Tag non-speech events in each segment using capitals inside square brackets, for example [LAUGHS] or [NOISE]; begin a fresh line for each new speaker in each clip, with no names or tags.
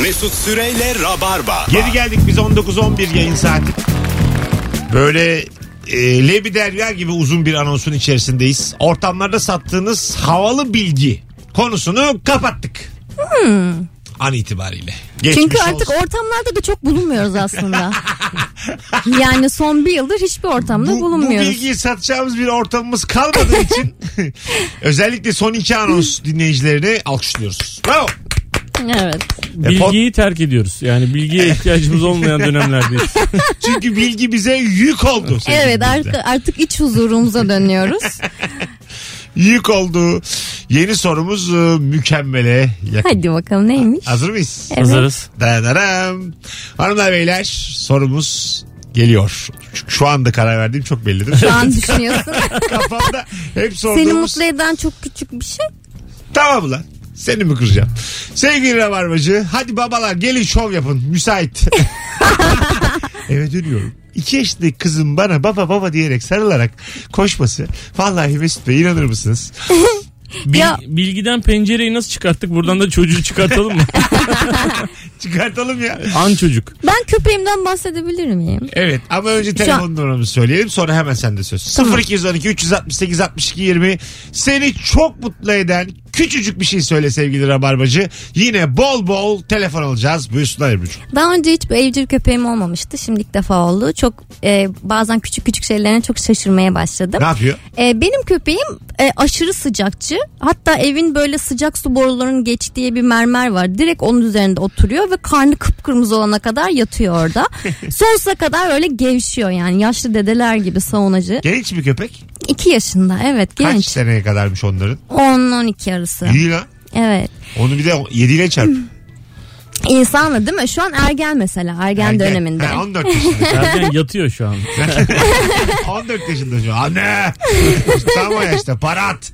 Mesut Süreyle Rabarba.
Geri geldik biz 19.11 yayın saati. Böyle e, Lebi Derya gibi uzun bir anonsun içerisindeyiz. Ortamlarda sattığınız havalı bilgi konusunu kapattık. An itibariyle. Geçmiş
Hmm. Çünkü artık
olsun.
ortamlarda da çok
[LAUGHS]
bulunmuyoruz aslında. yani son bir yıldır hiçbir ortamda
bu, bu
bulunmuyoruz.
bilgiyi satacağımız bir ortamımız kalmadığı için
[LAUGHS]
[LAUGHS] özellikle son iki anons dinleyicilerini alkışlıyoruz. Bravo.
Evet.
E,
Bilgiyi terk ediyoruz.
[LAUGHS]
Yani bilgiye ihtiyacımız olmayan dönemlerdeyiz.
[LAUGHS]
Çünkü bilgi bize yük oldu. sevgili
Evet
dinleyiciler.
artık, artık iç
[LAUGHS]
huzurumuza dönüyoruz.
Yük oldu. Yeni sorumuz e, mükemmele yakın.
Hadi bakalım neymiş?
Hazır mıyız?
Evet.
Hazırız.
Dayanaram. Hanımlar beyler sorumuz geliyor. Şu anda karar verdiğim çok belli
[LAUGHS]
değil mi?
Şu an
[LAUGHS]
düşünüyorsun.
Kafamda hep sorduğumuz.
Seni mutlu eden çok küçük bir şey.
Tamam lan. Seni mi kıracağım? Sevgili Rabarbacı hadi babalar gelin şov yapın. Müsait.
[LAUGHS]
Eve dönüyorum. İki yaşındaki kızım bana baba baba diyerek sarılarak koşması. Vallahi Mesut Bey inanır mısınız?
Bil-
Ya-
Bilgiden pencereyi nasıl çıkarttık? Buradan da çocuğu çıkartalım
[LAUGHS]
mı?
Çıkartalım ya.
An çocuk.
Ben köpeğimden bahsedebilir miyim?
Evet ama önce telefon numaramızı söyleyelim sonra hemen sende söz. 0212 368 62 20 seni çok mutlu eden küçücük bir şey söyle sevgili Rabarbacı. Yine bol bol telefon alacağız. Buyursunlar Ebru'cum.
Daha önce hiç bir evcil köpeğim olmamıştı. Şimdi ilk defa oldu. Çok e, bazen küçük küçük şeylerine çok şaşırmaya başladım.
Ne yapıyor?
E, benim köpeğim e, aşırı sıcakçı. Hatta evin böyle sıcak su borularının geçtiği bir mermer var. Direkt onun üzerinde oturuyor ve karnı kıpkırmızı olana kadar
[LAUGHS]
yatıyor orada. Sonsuza kadar öyle gevşiyor yani. Yaşlı dedeler gibi savunacı.
Genç bir köpek.
2 yaşında evet
Kaç
genç.
seneye kadarmış onların?
10-12 arası.
İyi lan.
Evet.
Onu bir de 7 ile çarp.
İnsanla değil mi? Şu an ergen mesela. Ergen,
Ergen.
döneminde.
Ha, 14
[LAUGHS]
yaşında.
Ergen yatıyor
[LAUGHS]
şu an.
14 yaşında şu. Anne. Tam o yaşta. Para at.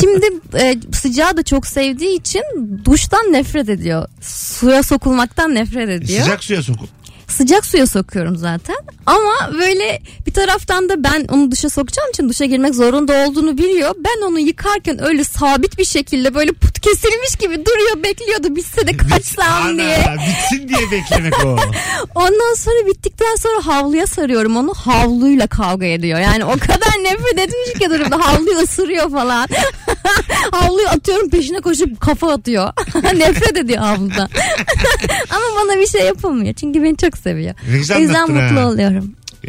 Şimdi e, sıcağı da çok sevdiği için duştan nefret ediyor. Suya sokulmaktan nefret ediyor.
Sıcak suya sokun.
sıcak suya sokuyorum zaten. Ama böyle bir taraftan da ben onu duşa sokacağım için duşa girmek zorunda olduğunu biliyor. Ben onu yıkarken öyle sabit bir şekilde böyle put kesilmiş gibi duruyor bekliyordu bitse de kaçsam
Ana,
diye.
Bitsin diye beklemek o.
Ondan sonra bittikten sonra havluya sarıyorum onu havluyla kavga ediyor. Yani o kadar nefret etmiş ki durumda havluyu ısırıyor falan. [LAUGHS] havluyu atıyorum peşine koşup kafa atıyor. [LAUGHS] nefret ediyor havludan. [LAUGHS] Ama bana bir şey yapamıyor çünkü beni çok seviyor.
Ne güzel
o yüzden
anlattın
mutlu
ha.
oluyorum.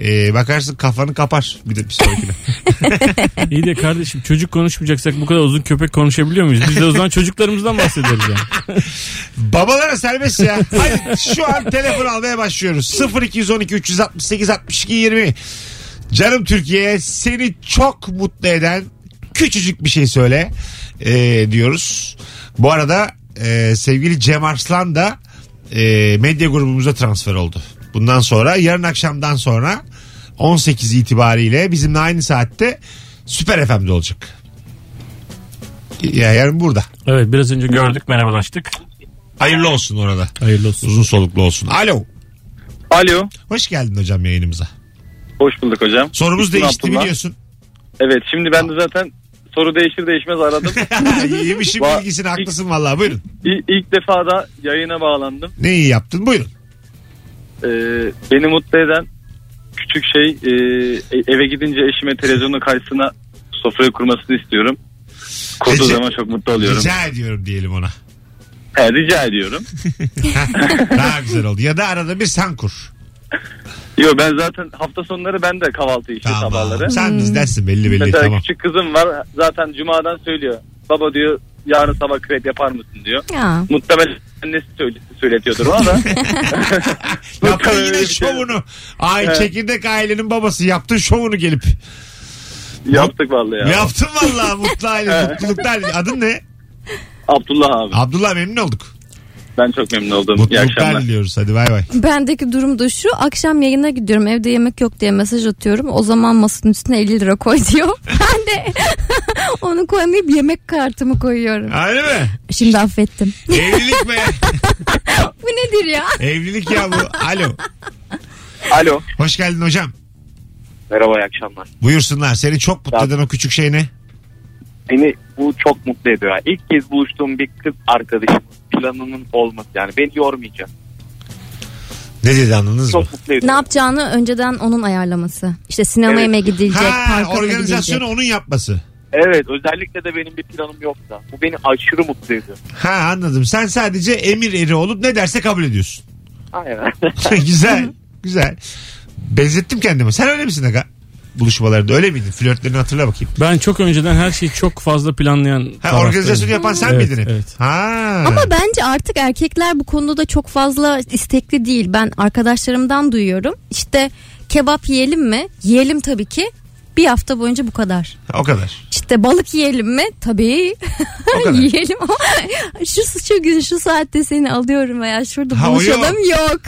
Ee, bakarsın kafanı kapar bir de bir sonrakine.
İyi de kardeşim çocuk konuşmayacaksak bu kadar uzun köpek konuşabiliyor muyuz? Biz de o zaman çocuklarımızdan bahsederiz yani.
Babalara serbest ya. [LAUGHS] Hadi şu an telefon almaya başlıyoruz. 0212 368 62 20. Canım Türkiye seni çok mutlu eden küçücük bir şey söyle ee, diyoruz. Bu arada e, sevgili Cem Arslan da e, medya grubumuza transfer oldu. Bundan sonra yarın akşamdan sonra 18 itibariyle bizimle aynı saatte Süper FM'de olacak. Ya yarın burada.
Evet biraz önce gördük.
merhabalaştık.
Hayırlı olsun orada.
Hayırlı olsun.
Uzun soluklu olsun. Alo.
Alo.
Hoş geldin hocam yayınımıza.
Hoş bulduk hocam.
Sorumuz
İsmim
değişti
Abdullah. [LAUGHS]
biliyorsun.
Evet şimdi ben de zaten soru değişir değişmez
[LAUGHS]
aradım.
Yemişim
Va-
bilgisini haklısın vallahi buyurun.
İ- İlk defa da yayına bağlandım.
Ne iyi yaptın buyurun.
Ee, beni mutlu eden küçük şey e, e- eve gidince eşime televizyonun karşısına sofrayı kurmasını istiyorum. Kurduğu
Rica-
zaman çok mutlu oluyorum.
Rica ediyorum
[LAUGHS]
diyelim ona.
He, rica ediyorum.
Daha güzel oldu. Ya da arada bir sen kur.
Yo ben zaten hafta sonları ben de kahvaltı işte sabahları.
Sen bizdensin belli belli
Mesela
tamam.
küçük kızım var zaten cumadan söylüyor. Baba diyor yarın sabah krep yapar mısın diyor.
Ya.
Muhtemelen annesi söyle, söyletiyordur ona
[LAUGHS]
da.
Yaptın
Öyle
yine
bir şey
şovunu. Ay
Evet.
çekirdek ailenin babası yaptın şovunu gelip.
Yaptık vallahi ya.
Yaptın
[LAUGHS]
vallahi mutlu aile mutluluklar. aile. Adın ne?
Abdullah abi.
Abdullah memnun olduk.
Ben çok memnun oldum. İyi
Mutluluklar
akşamlar.
diliyoruz hadi bay bay.
Bendeki durum da şu akşam yayına gidiyorum evde yemek yok diye mesaj atıyorum. O zaman masanın üstüne 50 lira koy [LAUGHS] diyor. Ben de [LAUGHS] onu koymayıp yemek kartımı koyuyorum.
Öyle mi?
Şimdi affettim.
[LAUGHS]
Evlilik be.
Bu nedir ya?
Evlilik ya bu. Alo.
Alo.
Hoş geldin hocam.
Merhaba iyi akşamlar.
Buyursunlar. Seni çok mutlu eden o küçük şey ne?
Beni bu çok mutlu ediyor. İlk kez buluştuğum bir kız arkadaşım planının olması. Yani beni yormayacak.
Ne dedi anladınız mı?
Çok mutlu ediyor.
Ne yapacağını önceden onun ayarlaması. İşte sinemaya
Evet.
mı gidilecek,
Ha
parka mı gidilecek.
organizasyonu onun yapması.
Evet özellikle de benim bir planım yoksa. Bu beni aşırı mutlu ediyor.
Ha anladım. Sen sadece emir eri olup ne derse kabul ediyorsun. [LAUGHS]
Aynen.
güzel. güzel. Benzettim kendimi. Sen öyle misin Aga? Buluşmalarda öyle miydin? Flörtlerini hatırla bakayım.
Ben çok önceden her şeyi çok fazla planlayan
Ha, organizasyonu
taraftayım.
yapan sen
Evet,
miydin hep?
evet.
Ha.
Ama bence artık erkekler bu konuda da çok fazla istekli değil. Ben arkadaşlarımdan duyuyorum. İşte kebap yiyelim mi? Yiyelim tabii ki. Bir hafta boyunca bu kadar.
O kadar.
İşte balık yiyelim mi? Tabii
O kadar.
[LAUGHS] yiyelim ama şu, şu gün şu saatte seni alıyorum veya şurada
Ha, o
buluşalım yok.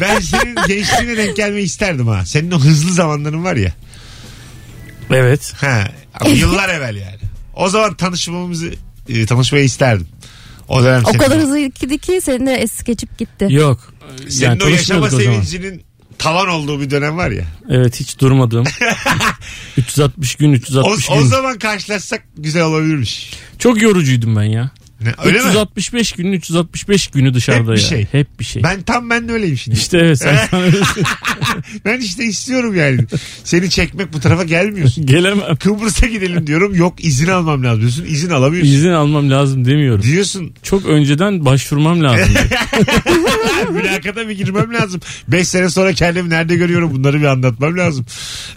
ben senin gençliğine denk gelmeyi isterdim ha. Senin o hızlı zamanların var ya.
Evet.
Ha. Ama yıllar evvel yani. O zaman tanışmamızı e, tanışmayı isterdim. O dönem
O
senin-
kadar hızlıydı ki senin de es geçip gitti.
Yok.
Senin
yani
o yaşama
tanışmıyorduk o zaman.
sevincinin tavan olduğu bir dönem var ya.
Evet hiç durmadım.
[LAUGHS]
360 gün
O,
360
o
gün.
zaman karşılaşsak güzel olabilirmiş.
Çok yorucuydum ben ya.
Ne, öyle mi?
365 günün 365 günü dışarıda
Hep bir
ya.
şey.
Hep bir şey.
Ben tam ben de öyleyim şimdi.
İşte
[LAUGHS]
evet sen
Ben işte istiyorum yani. Seni çekmek bu tarafa gelmiyorsun.
gelemem.
Kıbrıs'a gidelim diyorum. Yok izin almam lazım diyorsun. İzin alamıyorsun.
İzin almam lazım demiyorum.
Diyorsun
Çok önceden başvurmam lazım.
[LAUGHS] mülakata bir girmem lazım. 5 sene sonra kendimi nerede görüyorum bunları bir anlatmam lazım.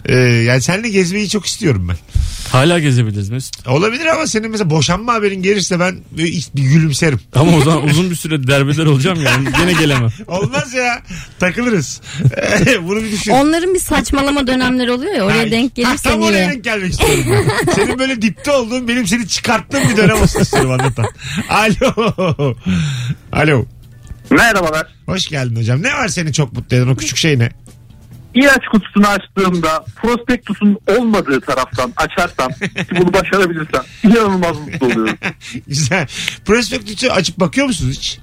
Ee, yani seninle gezmeyi çok istiyorum ben.
Hala gezebiliriz Mesut.
Olabilir ama senin mesela boşanma haberin gelirse ben bir bir gülümserim.
Ama o zaman uzun bir süre derbeder olacağım yani. Gene gelemem.
Olmaz ya. Takılırız. [LAUGHS] Bunu bir düşün.
Onların bir saçmalama dönemleri oluyor ya oraya
Ay.
denk
Ha,
gelirsen
Tam oraya
iyi.
denk gelmek istiyorum.
[LAUGHS]
ben. Senin böyle dipte olduğun benim seni çıkarttığım bir dönem olsun istiyorum anlatan. Alo. Alo.
[LAUGHS] Merhabalar.
Hoş geldin hocam. Ne var seni çok mutlu eden o küçük şey ne? [LAUGHS]
İlaç kutusunu açtığımda prospektusun olmadığı taraftan açarsam [LAUGHS] ki bunu başarabilirsem inanılmaz mutlu oluyorum.
Güzel. Prospektüsü açıp bakıyor musunuz hiç?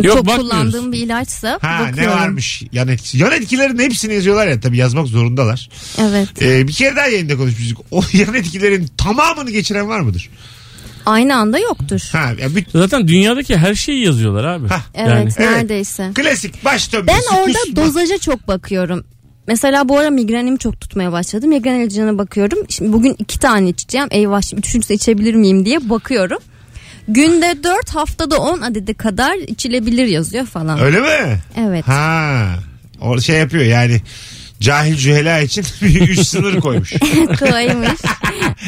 Yok,
Çok
bakmıyoruz.
kullandığım bir ilaçsa
Ha
bakıyorum.
ne varmış yan etkisi. Yan etkilerin hepsini yazıyorlar ya tabii yazmak zorundalar.
Evet.
Ee, bir kere daha yayında konuşmuştuk. O yan etkilerin tamamını geçiren var mıdır?
Aynı anda yoktur.
Ha, ya bir
Zaten dünyadaki her şeyi yazıyorlar abi.
Hah.
Evet
Yani.
neredeyse.
klasik baş dönmesi.
Ben orada
kusma.
dozaja çok bakıyorum. Mesela bu ara migrenim çok tutmaya başladı. Migren ilacına bakıyorum. Şimdi bugün iki tane içeceğim. Eyvah şimdi üçüncüsü içebilir miyim diye bakıyorum. Günde 4 haftada 10 adedi kadar içilebilir yazıyor falan.
Öyle mi?
Evet.
Ha. O şey yapıyor yani cahil cühela için [LAUGHS] bir üç sınır koymuş.
[LAUGHS] Koymuş.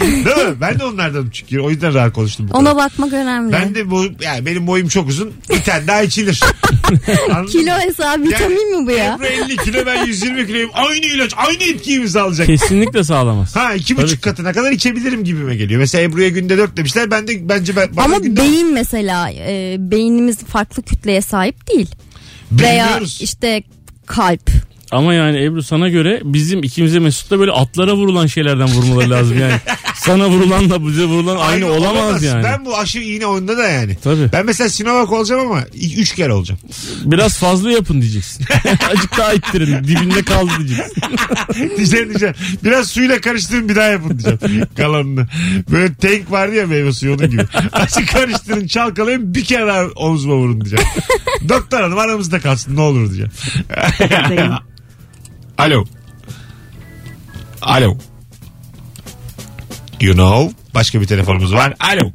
Değil mi? Ben de onlardanım çünkü. O yüzden rahat konuştum. Bu kadar.
Ona bakmak önemli.
Ben de bu yani benim boyum çok uzun. Bir tane daha
[LAUGHS]
içilir. Anladın
Kilo
mı?
hesabı
Yani
vitamin mi bu ya?
Ebru 50 kilo ben 120 kiloyum. Aynı ilaç aynı etkiyi imzalayacak.
Kesinlikle sağlamaz.
Ha iki
Tabii
buçuk
ki.
katına kadar içebilirim gibime geliyor. Mesela Ebru'ya günde dört demişler. Ben de bence ben, bana
Ama
günde
beyin mesela e, beynimiz farklı kütleye sahip değil. Veya
bilmiyoruz.
işte kalp.
Ama yani Ebru sana göre bizim ikimize Mesut'la böyle atlara vurulan şeylerden vurmaları lazım yani. Sana vurulanla bize vurulan aynı, olamaz, yani.
Ben bu aşı iğne oyunda da yani.
Tabii.
Ben mesela Sinovac olacağım ama ilk üç kere olacağım.
Biraz fazla yapın diyeceksin. [LAUGHS] Azıcık daha ittirin. Dibinde kaldı diyeceksin.
[LAUGHS] diyeceğim diyeceğim. Biraz suyla karıştırın bir daha yapın [LAUGHS] diyeceğim. Kalanını. Böyle tank vardı ya meyve suyu onun [LAUGHS] gibi. Açık karıştırın çalkalayın bir kere daha omzuma vurun [LAUGHS] diyeceğim. Doktor hanım aramızda kalsın ne olur diyeceğim. [LAUGHS] Alo. Alo. You know. Başka bir telefonumuz var. Alo.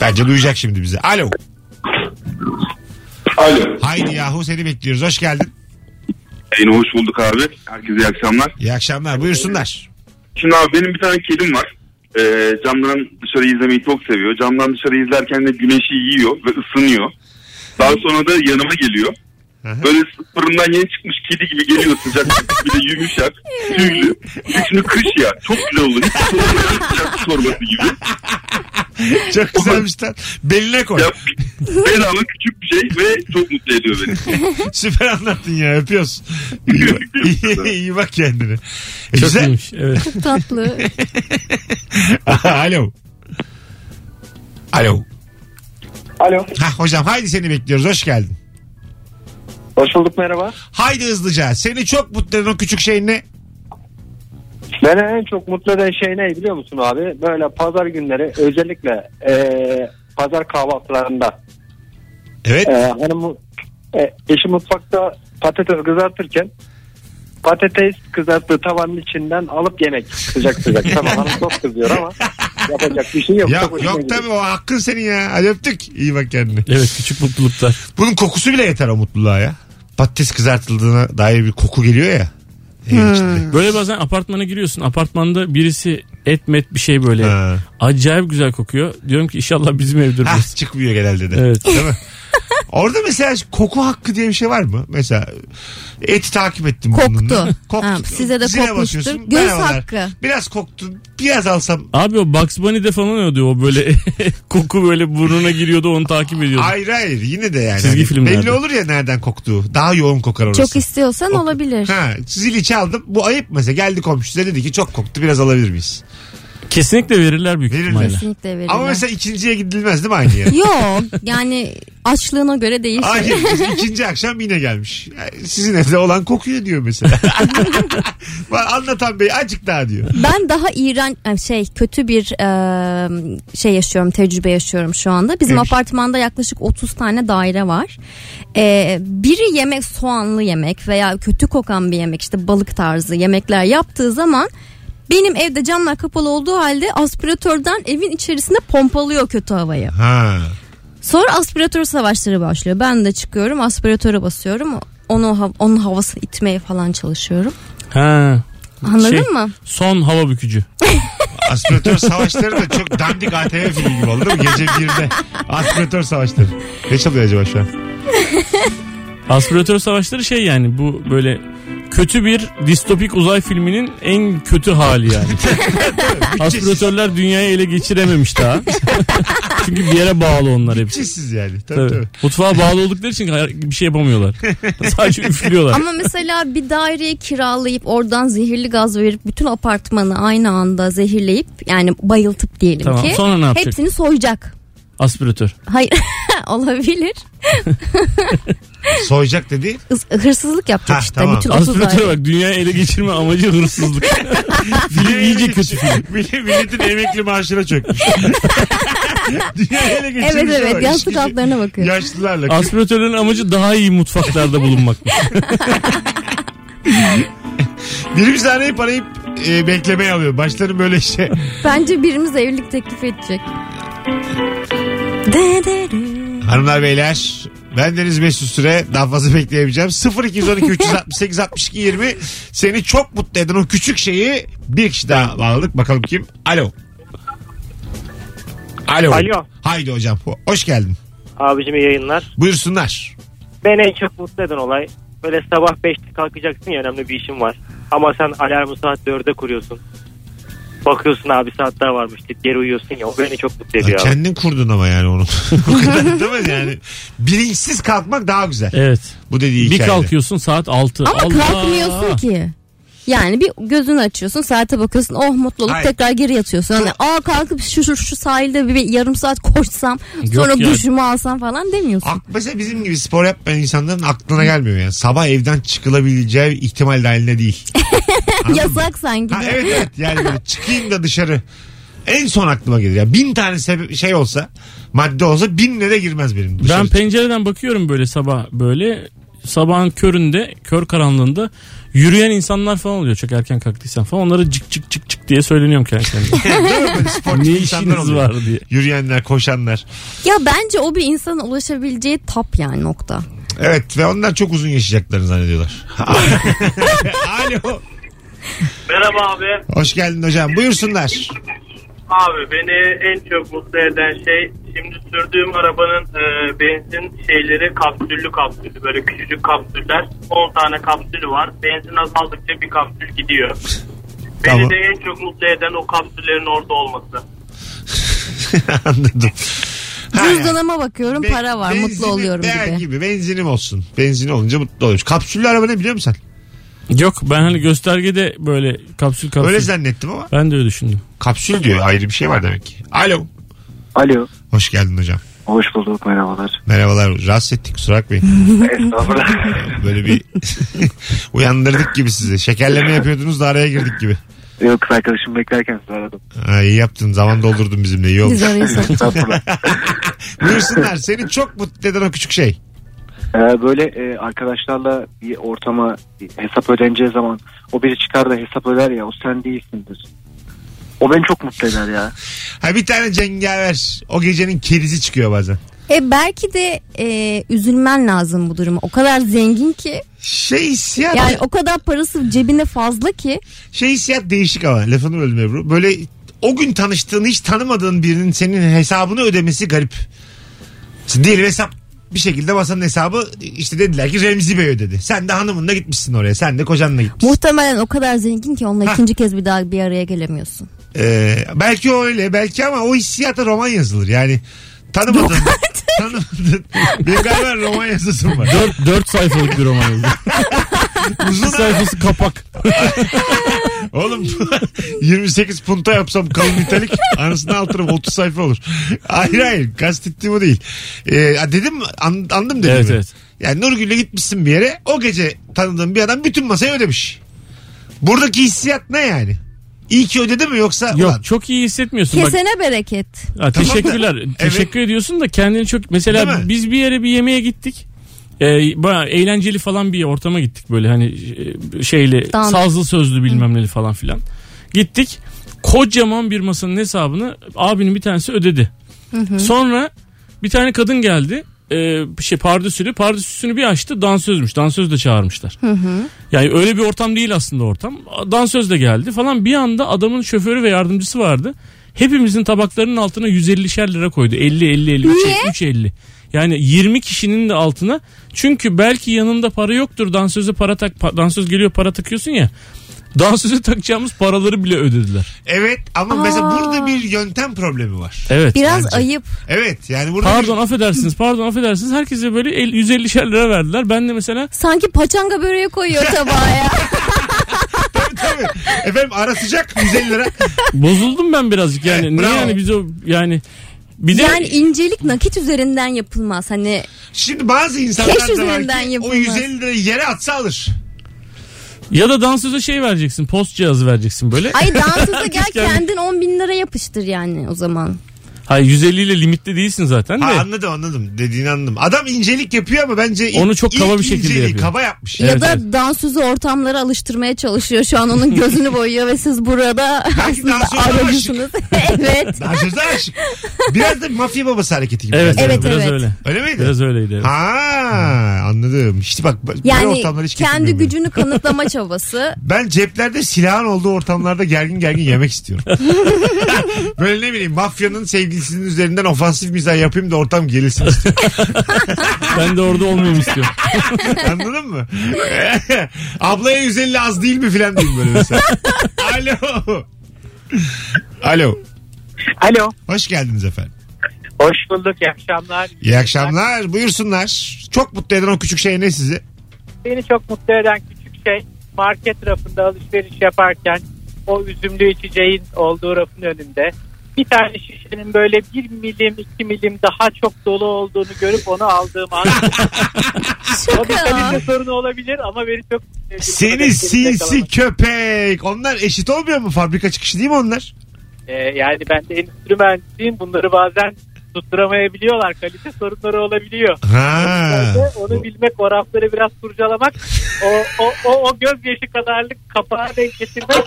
Bence duyacak şimdi bizi. Alo.
Alo.
Haydi yahu seni bekliyoruz. Hoş geldin.
Yine hoş bulduk abi. Herkese iyi akşamlar.
İyi akşamlar. Buyursunlar.
Şimdi abi benim bir tane kedim var. Ee, camdan dışarı izlemeyi çok seviyor. Camdan dışarı izlerken de güneşi yiyor ve ısınıyor. Daha sonra da yanıma geliyor.
Hı hı.
Böyle fırından yeni çıkmış kedi gibi geliyor sıcak. bir de yumuşak, tüylü. Bir de Şimdi kış ya. Çok güzel olur. Hiç sormadan sıcak çorbası gibi.
Çok güzelmiş lan. Beline koy.
Ya, bedava küçük bir şey ve çok mutlu ediyor beni.
Süper anlattın ya öpüyoruz. İyi, bak- iyi bak kendine. E,
Çok
güzel. [LAUGHS]
iyiymiş. Evet.
Tatlı.
Alo. Alo.
Alo.
Ha hocam haydi seni bekliyoruz hoş geldin.
Hoş bulduk merhaba.
Haydi hızlıca. Seni çok mutlu eden o küçük şey ne?
Beni en çok mutlu eden şey ne biliyor musun abi? Böyle pazar günleri özellikle eee
Ee, pazar kahvaltılarında
Evet.
e, hanım e, eşi mutfakta patates kızartırken patates kızarttığı tavanın içinden alıp yemek
[LAUGHS]
sıcak sıcak. tamam hanım çok kızıyor ama yapacak bir şey yok.
Ya
Çok hoşuma
yok
gidiyor.
tabii o hakkın senin ya. Hadi öptük. İyi bak kendine.
Evet küçük mutluluklar.
Bunun kokusu bile yeter o mutluluğa ya. Patates kızartıldığına dair bir koku geliyor ya. Evin içinde.
Böyle bazen apartmana giriyorsun. Apartmanda birisi et met bir şey böyle.
Ha.
Acayip güzel kokuyor. Diyorum ki inşallah bizim evdir
Hah,
burası.
çıkmıyor genelde de.
Evet.
Değil mi? Orada mesela koku hakkı diye bir şey var mı? Mesela eti takip ettim.
Koktu.
burnundan.
Ha, size de
Zile
kokmuştur.
basıyorsun.
Göz
Merhabalar.
hakkı.
Biraz koktu. Biraz alsam.
Abi o Bugs Bunny'de falan ödüyor o böyle [LAUGHS] koku böyle burnuna giriyordu onu takip ediyordu.
Hayır hayır yine de yani.
Çizgi
Hani
filmlerde.
Belli olur ya nereden koktuğu. Daha yoğun kokar orası.
Çok istiyorsan olabilir.
Ha, zili çaldım. Bu ayıp mesela. Geldi komşusu da dedi ki çok koktu biraz alabilir miyiz?
Kesinlikle verirler büyük
Verirler.
ihtimalle.
Kesinlikle verirler.
Ama mesela ikinciye gidilmez değil mi
[LAUGHS]
aynı yere?
Yok yani açlığına göre değişir.
Hayır biz ikinci akşam yine gelmiş. Sizin evde olan kokuyor diyor mesela. Bak Anlatan bey acık daha diyor.
Ben daha iğrenç yani şey kötü bir e, şey yaşıyorum tecrübe yaşıyorum şu anda. Bizim
Neymiş?
apartmanda yaklaşık 30 tane daire var. E, biri yemek soğanlı yemek veya kötü kokan bir yemek işte balık tarzı yemekler yaptığı zaman benim evde camlar kapalı olduğu halde aspiratörden evin içerisinde pompalıyor kötü havayı.
Ha.
Sonra aspiratör savaşları başlıyor. Ben de çıkıyorum aspiratöre basıyorum. Onu hav- onun havasını itmeye falan çalışıyorum.
Ha.
Anladın
Şey,
mı?
Son hava bükücü.
Aspiratör savaşları da çok dandik ATV filmi gibi oldu değil mi? Gece birde aspiratör savaşları. Ne çalıyor acaba şu an?
Aspiratör savaşları şey yani bu böyle kötü bir distopik uzay filminin en kötü
[LAUGHS]
hali yani. Aspiratörler dünyayı ele geçirememiş daha. [LAUGHS] Çünkü bir yere bağlı onlar hepsi.
Çizsiz yani. Tabii,
Tabii.
tabii.
Mutfağa bağlı oldukları için hayal- bir şey yapamıyorlar. Sadece üflüyorlar.
Ama mesela bir daireyi kiralayıp oradan zehirli gaz verip bütün apartmanı aynı anda zehirleyip yani bayıltıp diyelim
Tamam,
ki
sonra ne yapacak?
hepsini soyacak.
Aspiratör.
Hayır [LAUGHS] olabilir.
Soyacak dedi.
Hırs- Hırsızlık yapacak
Ha,
işte
tamam.
bütün otuz daire.
Aspiratöre bak dünyayı ele geçirme amacı hırsızlık. Film iyice kötü film.
Millet- Milletin emekli maaşına çökmüş. Dünyayı ele geçirmiş
Evet
şey
ama
evet yastık
işkence-
altlarına bakıyor.
Yaşlılarla.
Aspiratörün amacı daha iyi mutfaklarda bulunmakmış.
Birimiz arayıp arayıp e, beklemeye alıyor. Başlarım böyle işe.
Bence birimiz evlilik teklif edecek. De, de, de.
Hanımlar beyler ben Deniz Mesut Süre daha fazla bekleyemeyeceğim. 0212 368 62 20 seni çok mutlu eden o küçük şeyi bir kişi daha bağladık. Bakalım kim? Alo. Alo.
Alo.
Haydi hocam. Ho- Hoş geldin.
Abicim iyi yayınlar.
Buyursunlar.
Beni en çok mutlu eden olay böyle sabah 5'te kalkacaksın ya önemli bir işin var. Ama sen alarmı saat 4'e kuruyorsun. Bakıyorsun abi saat daha varmış deyip geri uyuyorsun ya o beni çok mutlu ediyor. abi.
Kendin kurdun ama yani onu. [LAUGHS] o kadar değil mi yani? Bilinçsiz kalkmak daha güzel.
Evet.
Bu dediği
Bir
hikayede.
kalkıyorsun saat 6.
Ama kalkmıyorsun ki. Yani bir gözünü açıyorsun saate bakıyorsun oh mutlu olup
Hayır.
tekrar geri yatıyorsun. Hani aa kalkıp şu, şu, şu sahilde bir, bir yarım saat koşsam sonra
ya.
duşumu alsam falan [LAUGHS] demiyorsun.
Ak, mesela bizim gibi spor yapmayan insanların aklına gelmiyor yani. Sabah evden çıkılabileceği ihtimal dahilinde değil. Anladın mı?
Yasak sanki
Ha,
de.
evet evet yani böyle çıkayım da dışarı. En son aklıma gelir. Ya bin tane sebe- şey olsa madde olsa binine de girmez benim. Dışarı.
Ben pencereden bakıyorum böyle sabah böyle sabahın köründe kör karanlığında yürüyen insanlar falan oluyor çok erken kalktıysan falan onlara cık cık cık cık diye söyleniyorum kendi kendime.
Değil mi?
[LAUGHS]
Böyle sportif
ne
insanlar
işiniz
oluyor.
var diye.
Yürüyenler, koşanlar.
Ya bence o bir insana ulaşabileceği tap yani nokta.
Evet ve onlar çok uzun yaşayacaklarını
[LAUGHS]
zannediyorlar. Alo.
Merhaba abi.
Hoş geldin hocam. Buyursunlar. [LAUGHS]
Abi beni en çok mutlu eden şey şimdi sürdüğüm arabanın e, benzin şeyleri kapsüllü kapsüllü böyle küçücük kapsüller 10 tane kapsülü var. Benzin azaldıkça bir kapsül gidiyor.
Tamam.
Beni de en çok mutlu eden o kapsüllerin orada olması.
Anladım. Ha,
Cüzdanıma bakıyorum
Be-
para var
benzinim
mutlu oluyorum
değer
gibi.
Benzinim olsun. Benzin olunca mutlu oluyoruz. Kapsüllü araba ne biliyor musun sen?
Yok ben hani göstergede böyle kapsül kapsül.
Öyle zannettim ama
ben de öyle düşündüm.
kapsül diyor ayrı bir şey var demek ki. Alo.
Alo.
Hoş geldin hocam.
Hoş bulduk merhabalar.
Merhabalar. Rahatsız ettik kusura bakmayın.
Estağfurullah.
[LAUGHS] Böyle bir uyandırdık gibi sizi. Şekerleme yapıyordunuz da araya girdik gibi.
Yok kız arkadaşımı beklerken sizi aradım.
Ha, iyi yaptın zaman doldurdun bizimle iyi olmuş.
Biz arıyorsak.
Estağfurullah.
[LAUGHS] Buyursunlar seni çok mutlu eden o küçük şey.
Ee, böyle e, arkadaşlarla bir ortama bir hesap ödeneceği zaman o biri çıkar da hesap öder ya o sen değilsindir. O beni çok mutlu eder ya.
Ha bir tane cengaver o gecenin kedisi çıkıyor bazen.
E belki de e, üzülmen lazım bu duruma. O kadar zengin ki
Şey hissiyat
yani o kadar parası cebinde fazla ki
şey hissiyat değişik ama lafını böldüm Ebru. Böyle o gün tanıştığın hiç tanımadığın birinin senin hesabını ödemesi garip. Şimdi diyelim hesap bir şekilde masanın hesabı işte dediler ki Remzi Bey ödedi. Sen de hanımınla gitmişsin oraya. Sen de kocanla gitmişsin.
muhtemelen o kadar zengin ki onunla
Hah.
ikinci kez bir daha bir araya gelemiyorsun.
Ee, belki öyle belki ama o hissiyata roman yazılır. Yani tanımadın. [LAUGHS] tanımadın. Benim galiba roman yazısım var.
4, 4 sayfalık bir roman oldu.
[LAUGHS] Uzun
sayfası kapak.
Oğlum [LAUGHS] 28 punta yapsam kalın nitelik anasını altırım 30 sayfa olur. Hayır hayır kastettiğim o değil. Ee, ha, dedim mi? An- anladım dedim.
Evet, evet.
Yani Nurgül'le gitmişsin bir yere o gece tanıdığın bir adam bütün masayı ödemiş. Buradaki hissiyat ne yani? İyi ki ödedi mi yoksa? ulan,
Yok çok iyi hissetmiyorsun. Bak,
Kesene bereket.
Ha,
Tamam da-
teşekkürler. Teşekkür ediyorsun da kendini çok mesela
Değil mi?
biz bir yere bir yemeğe gittik. Ee, bayağı eğlenceli falan bir ortama gittik böyle hani e, şeyli
Dans.
sazlı sözlü bilmem neli falan filan. Gittik. Kocaman bir masanın hesabını abinin bir tanesi ödedi. Sonra bir tane kadın geldi. Ee, şey pardösülü pardösüsünü bir açtı dansözmüş dansöz de çağırmışlar yani öyle bir ortam değil aslında ortam dansöz de geldi falan bir anda adamın şoförü ve yardımcısı vardı hepimizin tabaklarının altına 150'şer lira koydu 50 50 50
Niye?
3 50 yani 20 kişinin de altına çünkü belki yanında para yoktur dansöze para tak pa- dansöz geliyor para takıyorsun ya dansöze takacağımız paraları bile ödediler
Evet ama mesela
Aa.
burada bir yöntem problemi var.
evet
Biraz
Bence.
ayıp.
Evet yani burada
Pardon affedersiniz pardon affedersiniz herkese böyle el- 150'şer lira verdiler ben
[LAUGHS]
de mesela
Sanki paçanga böreği
[LAUGHS]
koyuyor tabağa ya.
bir- tabii. Efendim ara sıcak 150 lira.
Bozuldum ben birazcık yani. Niye
Bravo.
yani biz o yani bir de
yani incelik nakit üzerinden yapılmaz. Hani
Şimdi bazı insanlar
Keş
da var
üzerinden
ki o
yapılmaz.
150 lirayı yere atsa alır.
ya da dansöze şey vereceksin. Post cihazı vereceksin böyle. [LAUGHS]
ay dansıza gel
Keşke-
kendin 10 bin lira yapıştır yani o zaman.
Hayır 150 ile limitli değilsin zaten de.
Ha, anladım anladım dediğini anladım. Adam incelik yapıyor ama bence ilk-
Onu çok kaba
ilk
bir şekilde
inceliği
yapıyor.
Kaba yapmış.
Evet,
ya da
evet.
dansözü ortamlara alıştırmaya çalışıyor. Şu an onun gözünü boyuyor ve siz
[LAUGHS]
burada
Belki
aslında
dansöz
aracısınız. [LAUGHS] evet.
Daha sözde aşık. Biraz da mafya babası hareketi gibi.
Evet,
Yani.
evet,
Evet,
biraz
evet.
öyle.
Öyle miydi?
Biraz
[LAUGHS]
öyleydi. evet.
Ha anladım. İşte bak böyle
Yani
ortamlara hiç
kendi
getirmiyorum
gücünü kanıtlama
[LAUGHS]
çabası.
beni. Ben ceplerde silahın olduğu ortamlarda gergin gergin yemek
[LAUGHS]
istiyorum. Böyle ne bileyim mafyanın sevgilisinin üzerinden ofansif mizah yapayım da ortam gerilsin istiyorum.
Ben de orada olmayayım istiyorum.
Anladın mı? [LAUGHS] Ablaya 150 az değil mi filan diyeyim böyle mesela. Alo. Alo.
Alo.
Hoş geldiniz efendim.
Hoş bulduk. İyi akşamlar.
İyi akşamlar. Buyursunlar. Çok mutlu eden o küçük şey ne sizi?
Beni çok mutlu eden küçük şey market rafında alışveriş yaparken o üzümlü içeceğin olduğu rafın önünde bir tane şişenin böyle bir milim iki milim daha çok dolu olduğunu görüp onu aldığım
[LAUGHS]
an o bir
Şaka.
kalite sorunu olabilir ama beni çok
Seni sinsi köpek. Onlar eşit olmuyor mu? Fabrika çıkışı değil mi onlar?
Ee, yani ben de endüstri mühendisiyim bunları bazen tutturamayabiliyorlar kalite sorunları olabiliyor.
Ha.
Ve onu bilmek, o rafları biraz kurcalamak, o, o, o, o gözyaşı kadarlık kapağı denk getirmek
[LAUGHS]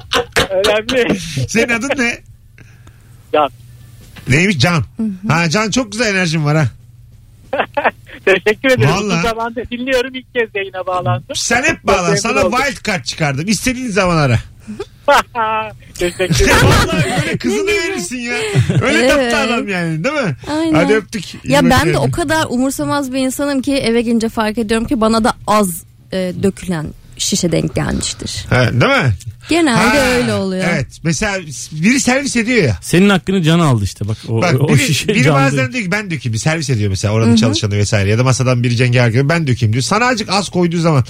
önemli.
Senin adın ne?
Can.
Neymiş Can? Ha Can çok güzel enerjin var ha.
Teşekkür ederim.
Vallahi.
Uzun zamandır dinliyorum. İlk kez yayına bağlandım.
Sen hep bağlan.
memnun
Sana
oldum.
wild card çıkardım. İstediğin zaman ara.
Teşekkür ederim.
[LAUGHS]
Vallahi böyle kızını verirsin ya. Öyle
Evet.
tatlı adam yani değil mi?
Aynen.
Hadi öptük. İyi
Ya
bak
ben de
kendine.
o kadar umursamaz bir insanım ki eve gelince fark ediyorum ki bana da az e, dökülen şişe denk gelmiştir.
Ha, değil mi?
Genelde
Ha,
öyle oluyor.
Evet. Mesela biri servis ediyor ya.
Senin hakkını can aldı işte bak o,
Bak
o
biri,
şişe
biri
candı.
bazen diyor ki ben dökeyim bir servis ediyor mesela oranın çalışanı vesaire ya da masadan biri cengaver gibi ben dökeyim diyor. Sana azıcık az koyduğu zaman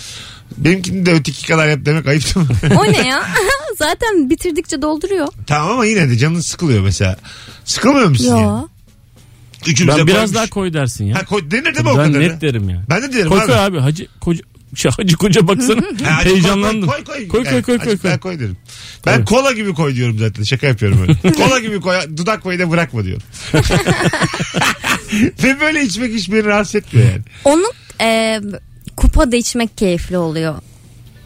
benimkini de öteki kadar yap demek ayıp değil mi? [LAUGHS]
O ne ya? [LAUGHS] Zaten bitirdikçe dolduruyor.
tamam ama yine de canın sıkılıyor mesela. Sıkılmıyor musun?
Ya.
yani? Üçümüze
Ben biraz
koymuş.
daha koy dersin ya.
Ha, koy, denir değil mi o
ben
kadar?
net derim ya.
Ben de derim
Koy
abi.
koy abi hacı koca- yapmış. ya. Hacı koca baksana.
[LAUGHS] Ha, acı koy,
Heyecanlandım.
Koy koy
Koy, koy,
Yani
koy, koy,
acı Ben
koy.
koy derim. Ben kola gibi koy diyorum zaten. Şaka yapıyorum
[LAUGHS]
öyle. kola gibi koy. Dudak payı da bırakma diyorum. Ve böyle içmek hiç beni rahatsız etmiyor yani.
Onu e, kupada içmek keyifli oluyor.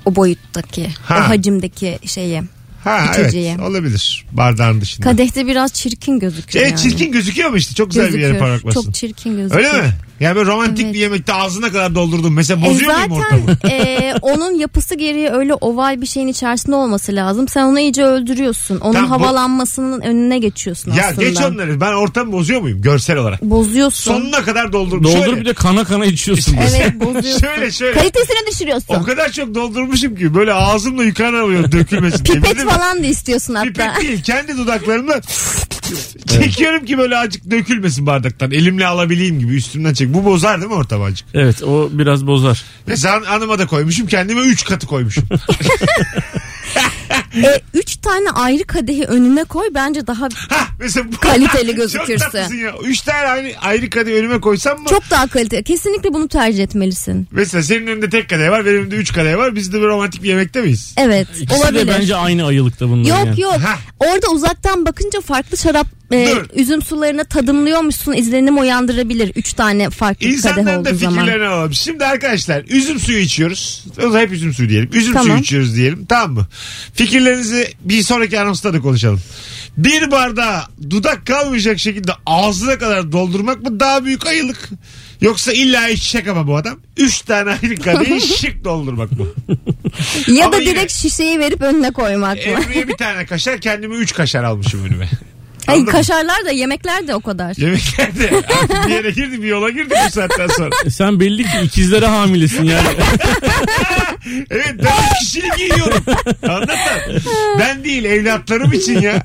O boyuttaki,
Ha.
o hacimdeki şeyi.
Ha
İçeceği.
evet olabilir. Bardağın dışında.
Kadehte biraz çirkin gözüküyor
Evet
yani.
çirkin gözüküyor mu işte? Çok güzel bir yere
Gözüküyor.
parmak bastın.
Çok çirkin gözüküyor.
Öyle mi? Yani böyle romantik
Evet.
bir yemekte ağzına kadar doldurdum. Mesela
E
bozuyor muyum ortamı?
[LAUGHS] zaten e, onun yapısı gereği öyle oval bir şeyin içerisinde olması lazım. Sen onu iyice öldürüyorsun. Onun
Tamam, bu-
havalanmasının önüne geçiyorsun
ya
aslında.
geç onları. Ben ortamı bozuyor muyum görsel olarak?
Bozuyorsun.
Sonuna kadar doldurdum.
Doldur
Şöyle-
bir de kana kana içiyorsun. böyle.
Evet bozuyorsun.
[LAUGHS] Şöyle şöyle.
Kalitesini düşürüyorsun.
O kadar çok doldurmuşum ki böyle ağzımla yukarı alıyorum dökülmesin diye.
Pipet
Bizim-
falan da istiyorsun hatta.
Pipet değil kendi
[LAUGHS]
dudaklarımla çekiyorum ki böyle acık dökülmesin bardaktan. Elimle alabileyim gibi üstümden çek. Bu bozar değil mi ortamı acık?
Evet o biraz bozar.
Mesela an- anıma da koymuşum kendime 3 katı
[LAUGHS]
koymuşum.
E, üç tane ayrı kadehi önüne koy bence daha
Hah, Mesela bu... [LAUGHS]
Kaliteli
Çok
gözükürse.
tatlısın ya. 3 tane aynı, ayrı kadeh önüme koysam mı?
çok daha kaliteli. Kesinlikle bunu tercih etmelisin.
Mesela senin önünde tek kadeh var benim önümde 3 kadeh var. Biz de bir romantik bir yemekte miyiz?
Evet
İkisi
olabilir.
de bence aynı ayılıkta bunlar.
Yok
yani.
yok.
Ha.
Orada uzaktan bakınca farklı şarap e,
Dur.
üzüm sularına tadımlıyormuşsun izlenim uyandırabilir. Üç tane farklı kadeh
İnsanların da
olduğu zaman.
fikirlerini alalım. Şimdi arkadaşlar üzüm suyu içiyoruz. O da hep üzüm suyu diyelim. Üzüm
Tamam.
suyu içiyoruz diyelim. Tamam mı? Fikirlerinizi bir sonraki anonsta da konuşalım. Bir bardağı dudak kalmayacak şekilde ağzına kadar doldurmak mı daha büyük ayılık? Yoksa illa içecek ama bu adam. Üç tane ayrı kadehi
[LAUGHS]
şık doldurmak mı?
Ya
Ama
da
yine- E,
direkt şişeyi verip önüne koymak mı?
Emre'ye bir tane kaşar kendime üç kaşar almışım önüme.
Ay,
Anladın mı?
kaşarlar da yemekler de o kadar.
Yemeklerde artık bir yere girdi bir yola girdi bu saatten sonra.
E Sen belli ki ikizlere
[LAUGHS]
hamilesin yani.
Evet ben kişilik yiyorum. Anladın mı? Ben değil evlatlarım için ya.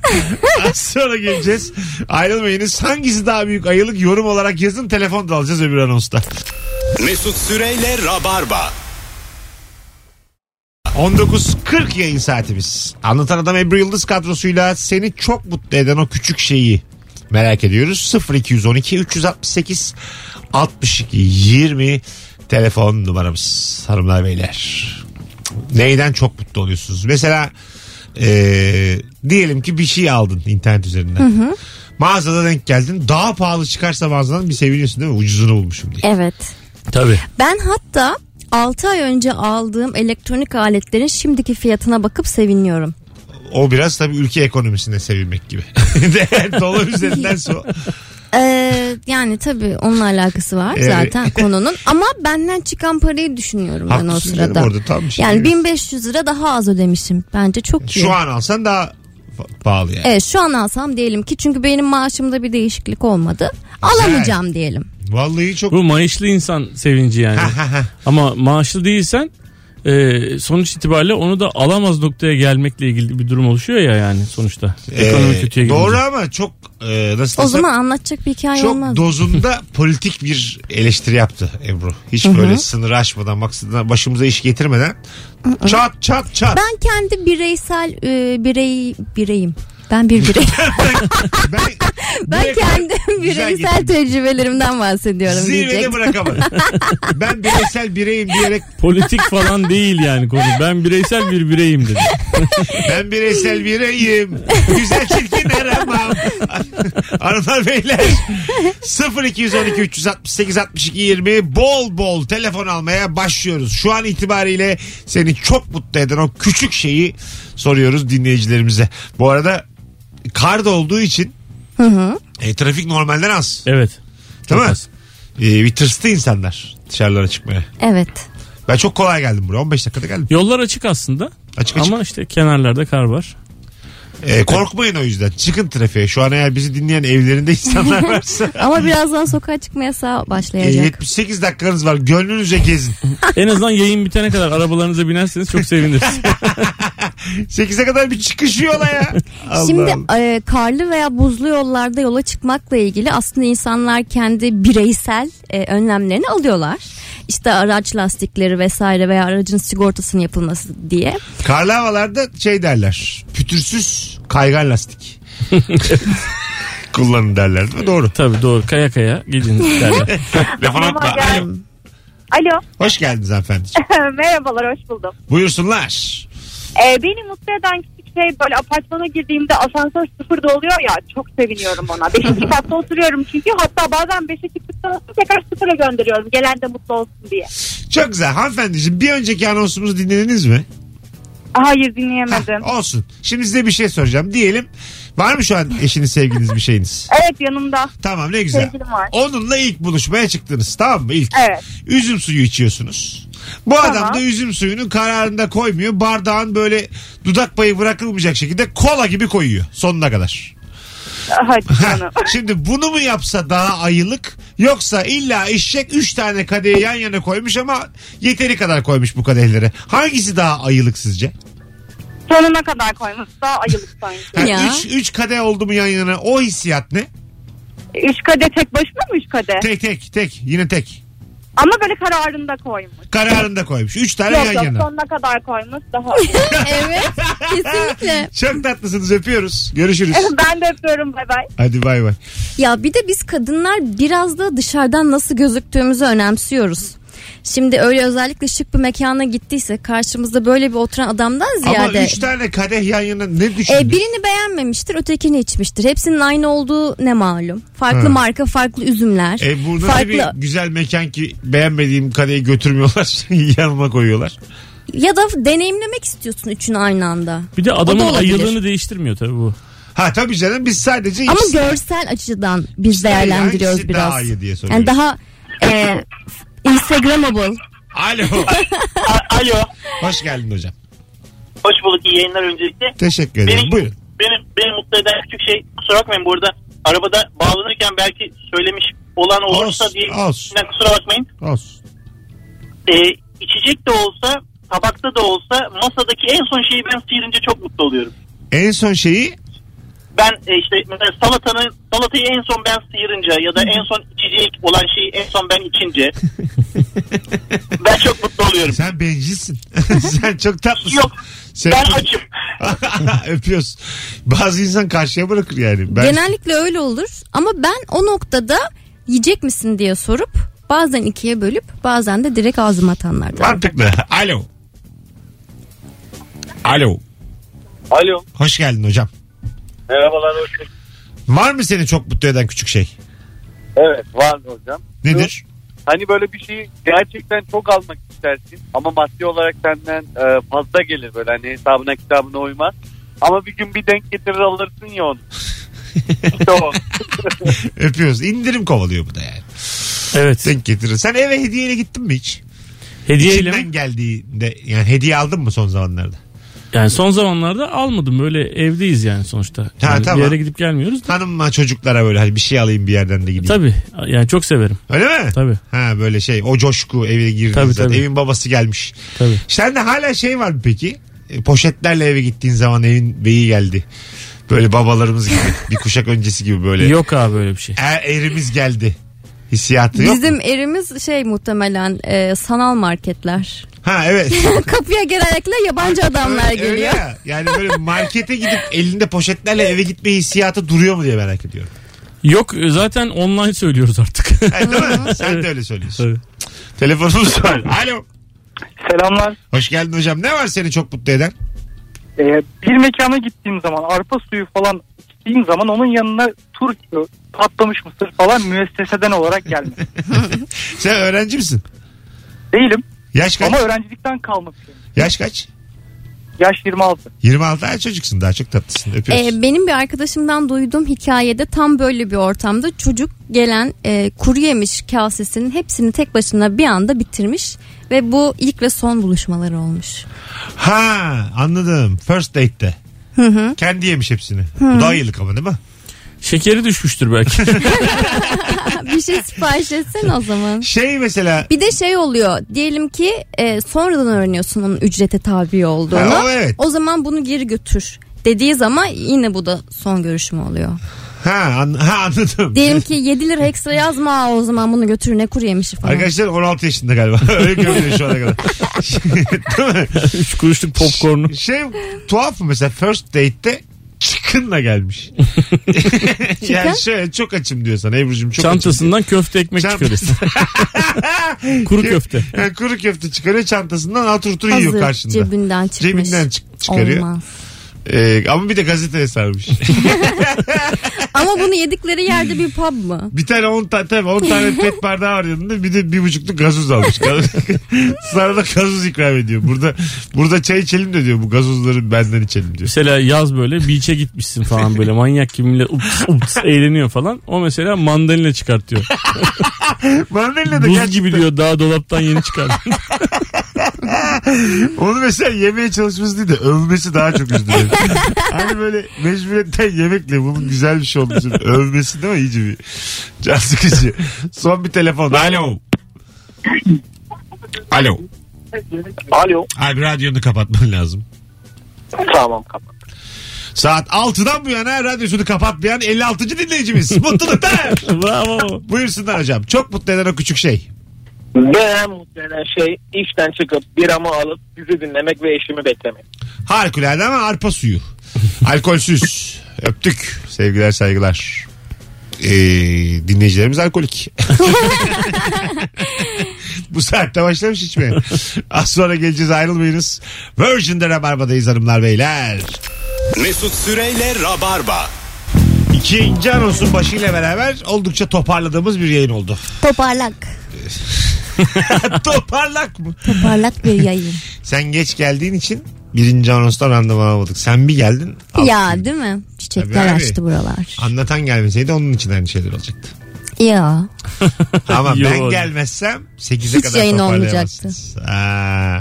Az sonra geleceğiz. Ayrılmayınız. Hangisi daha büyük ayılık yorum olarak yazın telefon da alacağız öbür anonsta.
Mesut Süreyle Rabarba.
19.40 yayın saatimiz. Anlatan Adam Ebru Yıldız kadrosuyla seni çok mutlu eden o küçük şeyi merak ediyoruz. 0212 368 62 20 telefon numaramız hanımlar beyler. Neyden çok mutlu oluyorsunuz? Mesela eee, diyelim ki bir şey aldın internet üzerinden. Mağazada denk geldin. Daha pahalı çıkarsa mağazadan bir seviniyorsun değil mi? Ucuzunu bulmuşum diye.
Evet.
Tabii.
Ben hatta 6 ay önce aldığım elektronik aletlerin şimdiki fiyatına bakıp seviniyorum.
O biraz tabii ülke ekonomisine sevinmek gibi. [LAUGHS] Dolar üzerinden so.
Ee, yani tabii onunla alakası var
Evet. [LAUGHS]
zaten konunun. Ama benden çıkan parayı düşünüyorum ben o
Haklısın canım
sırada.
orada tam bir şey
yani
değil.
1500 lira daha az ödemişim. Bence çok iyi.
Şu an alsan daha fa- pahalı yani.
Evet şu an alsam diyelim ki çünkü benim maaşımda bir değişiklik olmadı. Alamayacağım diyelim.
Vallahi çok
Bu maaşlı insan sevinci yani. Ama maaşlı değilsen e, sonuç itibariyle onu da alamaz noktaya gelmekle ilgili bir durum oluşuyor ya yani sonuçta. Ekonomi
Ee,
kötüye
Doğru
gidince.
ama çok e, nasıl
O
desem,
zaman anlatacak bir hikaye
çok
olmaz. [LAUGHS]
dozunda politik bir eleştiri yaptı Ebru. Hiç böyle sınırı aşmadan maksadına başımıza iş getirmeden çat çat çat.
ben kendi bireysel e, birey bireyim. Ben bir birey.
[LAUGHS] Ben,
[LAUGHS] ben
buraya kadar
kendi
güzel
[LAUGHS] bireysel
gittim.
tecrübelerimden bahsediyorum
Zirvede
diyecektim.
bırakamadım. ben bireysel bireyim diyerek
[LAUGHS]
Politik falan değil yani konu. Ben bireysel bir bireyim dedi.
ben bireysel bireyim. Güzel çirkin
[LAUGHS]
aramam. Hanımlar beyler 0212 368 62 20 bol bol telefon almaya başlıyoruz. Şu an itibariyle seni çok mutlu eden o küçük şeyi soruyoruz dinleyicilerimize. Bu arada kar da olduğu için e, trafik normalden az.
Evet. Çok
Değil mi?
az.
E, bir tırstı insanlar dışarılara çıkmaya.
Evet.
Ben çok kolay geldim buraya 15 dakikada geldim.
Yollar açık aslında.
Açık açık.
Ama işte kenarlarda kar var.
E, korkmayın o yüzden çıkın trafiğe. Şu an eğer bizi dinleyen evlerinde
[LAUGHS]
insanlar varsa.
Ama birazdan sokağa çıkma yasağı
E,
başlayacak.
78 dakikanız var. Gönlünüzce [LAUGHS] gezin.
En azından yayın bitene kadar arabalarınıza binerseniz çok seviniriz.
[LAUGHS] 8'e kadar bir çıkış yola ya. Allah
Şimdi
Allah.
e, karlı veya buzlu yollarda yola çıkmakla ilgili aslında insanlar kendi bireysel e, önlemlerini alıyorlar. İşte araç lastikleri vesaire veya aracın sigortasının yapılması diye.
Karlı havalarda şey derler. Pütürsüz kaygan [LAUGHS] lastik. Kullanın derler değil mi? Doğru. [LAUGHS]
Tabii doğru. Kaya kaya gidin derler.
Lafını
Ama
atma.
gel-
Alo.
Alo. [LAUGHS]
Hoş geldiniz hanımefendi.
Merhabalar hoş buldum.
Buyursunlar.
Ee, beni mutlu eden küçük şey böyle apartmana girdiğimde asansör sıfırda oluyor ya çok seviniyorum
[LAUGHS]
ona. Beşinci katta oturuyorum çünkü hatta bazen beşe çıktıktan sonra tekrar sıfıra gönderiyorum. Gelen de mutlu olsun diye.
Çok güzel. Hanımefendiciğim bir önceki anonsumuzu dinlediniz mi?
Hayır
Hah,
dinleyemedim.
olsun. Şimdi size bir şey soracağım. Diyelim var mı şu an eşiniz, sevginiz bir şeyiniz?
Evet yanımda.
Tamam ne güzel.
Sevgilim var.
Onunla ilk buluşmaya çıktınız tamam mı? İlk.
Evet.
Üzüm suyu içiyorsunuz. Bu adam
Tamam.
da üzüm suyunu kararında koymuyor. Bardağın böyle dudak payı bırakılmayacak şekilde kola gibi koyuyor sonuna kadar.
Hadi
Ha, [LAUGHS]
[LAUGHS] canım.
Şimdi bunu mu yapsa daha ayılık yoksa illa eşek 3 tane kadehi yan yana koymuş ama yeteri kadar koymuş bu kadehlere. Hangisi daha ayılık sizce?
Sonuna kadar koyması daha ayılık sanki.
Ya.
3 kadeh oldu mu yan yana o hissiyat ne?
Üç kade tek başına mı üç kade?
Tek tek tek yine tek.
Ama böyle kararında koymuş.
Kararında koymuş. 3 tane
Yok
yan
yok
yana.
sonuna kadar koymuş daha. [LAUGHS]
evet kesinlikle.
Çok tatlısınız öpüyoruz. Görüşürüz.
ben de öpüyorum bay bay.
Hadi bay bay.
Ya bir de biz kadınlar biraz da dışarıdan nasıl gözüktüğümüzü önemsiyoruz. Şimdi öyle özellikle şık bir mekana gittiyse karşımızda böyle bir oturan adamdan
Ama
ziyade
3 tane kadeh yan yana ne düşündün?
e, birini beğenmemiştir, ötekini içmiştir. Hepsinin aynı olduğu ne malum. Farklı
Ha.
marka, farklı üzümler.
E burada da
farklı
bir güzel mekan ki beğenmediğim kadeyi götürmüyorlar. [LAUGHS] Yanıma koyuyorlar.
ya da deneyimlemek istiyorsun üçünü aynı anda.
Bir de
O da
adamın
olabilir.
ayılığını değiştirmiyor tabii bu.
Ha tabii canım biz sadece
Ama
ikisi-
görsel açıdan biz
İşte
değerlendiriyoruz
hangisi
biraz.
daha iyi diye soruyoruz.
yani daha e, Instagramable.
[LAUGHS]
Alo.
Alo.
Hoş geldin hocam.
Hoş bulduk. iyi yayınlar öncelikle.
Teşekkür ederim.
Benim,
Buyurun.
benim, beni mutlu eden küçük şey kusura bakmayın bu arada arabada bağlanırken belki söylemiş olan olursa
Olsun,
diye
olsun.
Yani kusura bakmayın.
Olsun.
Ee, içecek de olsa tabakta da olsa masadaki en son şeyi ben sıyırınca çok mutlu oluyorum.
En son şeyi
Ben e, işte mesela salatanın salatayı en son ben sıyırınca ya da en son içecek olan şeyi en son ben içince ben çok mutlu oluyorum.
sen bencilsin. [LAUGHS] sen çok tatlısın.
Yok
Sen-
ben
[LAUGHS]
açım.
Öpüyoruz. Bazı insan karşıya bırakır yani. Ben...
Genellikle öyle olur ama ben o noktada yiyecek misin diye sorup bazen ikiye bölüp bazen de direkt ağzıma atanlardan.
Mantıklı. Alo. Alo.
[LAUGHS] Alo.
Hoş geldin hocam.
Merhabalar hoş bulduk.
Var mı seni çok mutlu eden küçük şey?
Evet var hocam.
Nedir?
Hani böyle bir şeyi gerçekten çok almak istersin ama maddi olarak senden e, fazla gelir böyle hani hesabına kitabına uymaz. Ama bir gün bir denk getirir alırsın ya [LAUGHS] onu. İşte [LAUGHS] o.
Öpüyoruz. İndirim kovalıyor bu da yani.
Evet.
Denk getirir. Sen eve hediyeyle gittin mi hiç?
Hediyeyle mi?
İçinden geldiğinde yani hediye aldın mı son zamanlarda?
Yani son zamanlarda almadım. Böyle evdeyiz yani sonuçta.
Ha,
Yani
tamam.
Bir yere gidip gelmiyoruz. Da.
Hanımla çocuklara böyle hani bir şey alayım bir yerden de gideyim.
Tabii. Yani çok severim.
Öyle mi?
Tabii.
Ha böyle şey o coşku eve girdi
Tabii,
zaten.
tabii.
Evin babası gelmiş.
Tabii.
Sende hala şey var mı peki? E, Poşetlerle eve gittiğin zaman evin beyi geldi. Böyle babalarımız gibi bir kuşak öncesi gibi böyle.
Yok abi böyle bir şey.
Er, erimiz geldi. Hissiyatı yok. mu?
Bizim erimiz şey muhtemelen e, sanal marketler.
Ha evet.
Kapıya genellikle yabancı adamlar
Öyle- öyle
geliyor.
ya. Yani böyle markete gidip elinde poşetlerle eve gitme hissiyatı duruyor mu diye merak ediyorum.
Yok zaten online
[LAUGHS]
söylüyoruz artık.
Evet, değil mi? Sen de öyle söylüyorsun.
Tabii.
Telefonumuz var. Alo.
Selamlar.
Hoş geldin hocam. Ne var seni çok mutlu eden?
Ee, bir mekana gittiğim zaman arpa suyu falan içtiğim zaman onun yanına turşu, patlamış mısır falan müesseseden olarak gelmiş.
Sen öğrenci misin?
Değilim
Yaş kaç?
ama öğrencilikten kalmak için.
Yaş kaç?
Yaş 26.
26 ay çocuksun daha çok tatlısın. Öpüyoruz.
E, benim bir arkadaşımdan duyduğum hikayede tam böyle bir ortamda çocuk gelen e, kuru yemiş kasesinin hepsini tek başına bir anda bitirmiş ve bu ilk ve son buluşmaları olmuş.
ha anladım. First date'te.
Hı hı.
Kendi yemiş hepsini. Bu daha iyilik ama değil mi?
Şekeri düşmüştür belki.
[LAUGHS]
bir şey sipariş etsen o zaman.
Şey mesela
Bir de şey oluyor diyelim ki e, sonradan öğreniyorsun onun ücrete tabi olduğunu.
Ha, o evet.
O zaman bunu geri götür dediği zaman yine bu da son görüşüm oluyor.
ha, an- ha anladım. [LAUGHS] Şey,
Diyelim ki 7 lira ekstra yazma "Aa, o zaman bunu götür ne kuru yemişi falan.
Arkadaşlar 16 yaşında galiba. [LAUGHS] Öyle görünüyor şu ana kadar. Değil mi?
Üç kuruşluk popcornu.
Şey tuhaf mı mesela first date'te çık çıkınla
[LAUGHS]
gelmiş. yani şöyle çok açım diyor sana Ebru'cum çok açım.
Çantasından köfte ekmek
Çant- [LAUGHS]
çıkarıyorsun. Kuru köfte.
Yani kuru köfte çıkarıyor çantasından atır yiyor
Hazır
karşında.
cebinden çıkmış.
Cebinden çık- çıkarıyor.
Olmaz.
Ee, ama bir de gazeteye sarmış.
[LAUGHS] Ama bunu yedikleri yerde bir pub mı?
bir tane 10 tane tabii 10 tane pet bardağı var yanında bir de bir buçukluk gazoz [LAUGHS] almış. Sana da gazoz ikram ediyor. Burada burada çay içelim de diyor bu gazozları benden içelim diyor.
Mesela yaz böyle beach'e gitmişsin falan böyle manyak gibi millet ups
[LAUGHS]
ups eğleniyor falan. O mesela mandalina çıkartıyor.
Mandalina da
Buz gibi
gerçekten
diyor daha dolaptan yeni çıkarttım.
onu mesela yemeye çalışması değil de övmesi daha çok [LAUGHS] üzülüyor. hani böyle mecburiyetten yemekle bunun güzel bir şey olmuş. Övmesi değil mi iyice bir can sıkıcı. Son bir telefon. Alo. Alo.
Alo.
Abi radyonu kapatman lazım.
Tamam kapat.
Saat 6'dan bu yana radyosunu kapatmayan 56. dinleyicimiz. Mutluluklar.
[LAUGHS] Bravo.
Buyursunlar hocam. Çok mutlu eden o küçük şey.
Ben muhtemelen şey işten çıkıp biramı alıp sizi dinlemek ve eşimi beklemek.
Harikulade ama arpa suyu. Alkolsüz. Öptük. Sevgiler saygılar. Ee, dinleyicilerimiz alkolik. Bu saatte başlamış içmeye. Az sonra geleceğiz ayrılmayınız. Virgin'de Rabarba'dayız hanımlar beyler.
Mesut Süreyle Rabarba.
İkinci anonsun başıyla beraber oldukça toparladığımız bir yayın oldu.
Toparlak.
Toparlak mı?
Toparlak
[LAUGHS]
bir yayın.
Sen geç geldiğin için birinci anonstan randevu alamadık. Sen bir geldin. al.
ya değil mi? Çiçekler
Tabii abi.
açtı buralar.
Anlatan gelmeseydi onun için aynı şeyler olacaktı.
Ya.
[LAUGHS] Ama ben
Yo.
gelmezsem 8'e
Hiç
kadar
yayın
toparlayamazsınız. Aa.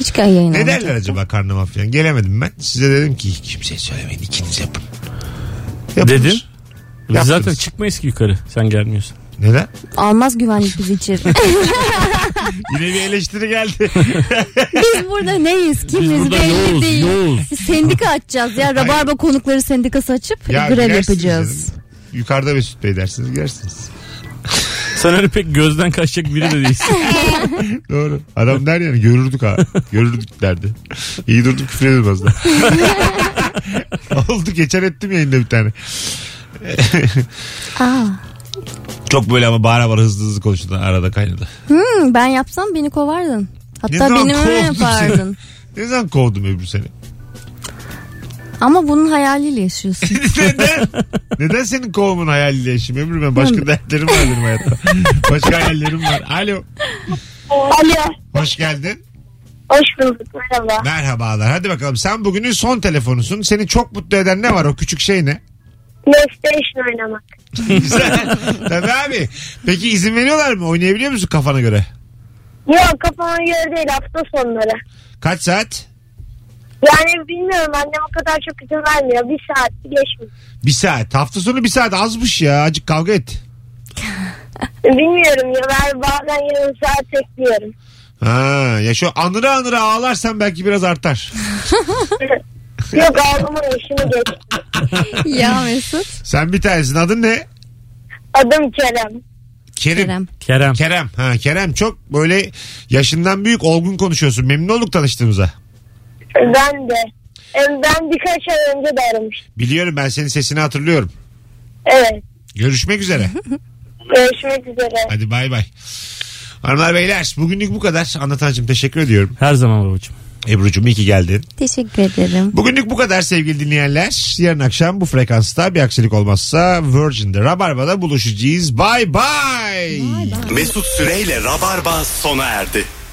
Hiç kay yayın
Ne
olmayacak.
derler acaba karnıma falan? Gelemedim ben. Size dedim ki kimseye söylemeyin ikiniz yapın. Yapılır.
Dedin. Biz
Yaptınız.
zaten çıkmayız ki yukarı. Sen gelmiyorsun.
Neden?
Almaz güvenlik
[LAUGHS]
bizi içeri.
Yine bir eleştiri geldi.
Biz burada neyiz? Kimiz
Biz burada
belli
yoğuz,
değil.
yoğuz.
Sendika açacağız ya. Rabarba konukları sendikası açıp
Ya
grev
girersiniz
yapacağız.
dedim. Yukarıda Mesut Bey dersiniz girersiniz.
Sen öyle pek gözden kaçacak biri
[LAUGHS]
de değilsin.
Doğru. Adam der yani görürdük ha. Görürdük derdi. İyi durduk küfür edilmez [LAUGHS] de. Oldu geçen ettim yayında bir tane.
Aa.
Çok böyle ama bağıra bağıra hızlı hızlı konuştu arada kaynadı.
Hı, hmm, ben yapsam beni kovardın.
Ne
Hatta
zaman
benim öyle
kovdum seni?
yapardın.
Ne zaman kovdum Ebru seni? [LAUGHS]
Ama bunun hayaliyle yaşıyorsun.
[LAUGHS] Neden? Neden senin kovumun hayaliyle yaşayayım Ebru? Ben başka dertlerim var benim hayatta. Başka hayallerim var. Alo.
Alo.
Hoş geldin.
Hoş bulduk. Merhaba.
Merhabalar. Hadi bakalım sen bugünün son telefonusun. Seni çok mutlu eden ne var? O küçük şey [LAUGHS] ne?
PlayStation oynamak.
Güzel. Tabii abi. Peki izin veriyorlar mı? Oynayabiliyor musun kafana göre?
Yok kafama göre değil hafta sonları.
Kaç saat?
Yani bilmiyorum annem o kadar çok izin vermiyor. Bir saat geçmiyor.
Bir saat. Hafta sonu bir saat azmış ya. Acık kavga et.
Bilmiyorum ya ben bazen yarım saat bekliyorum.
Ha, ya şu anıra anıra ağlarsan belki biraz artar.
Yok ağlama işimi geç.
ya Mesut.
Sen bir tanesin. Adın ne?
Adım Kerem.
Kerim.
Kerem.
Kerem.
Kerem. Ha, Kerem çok böyle yaşından büyük olgun konuşuyorsun. Memnun olduk tanıştığımıza.
Ben de. Em, Ben birkaç ay önce de aramıştım.
Biliyorum ben senin sesini hatırlıyorum.
Evet.
Görüşmek üzere.
Görüşmek üzere.
Hadi bay bay. Hanımlar beyler bugünlük bu kadar. Anlatancım teşekkür ediyorum.
Her zaman babacığım.
Ebru'cum iyi ki geldin.
Teşekkür ederim.
Bugünlük bu kadar sevgili dinleyenler. Yarın akşam bu frekansta bir aksilik olmazsa Virgin'de Rabarba'da buluşacağız. Bay bay.
Mesut Süreyle Rabarba sona erdi.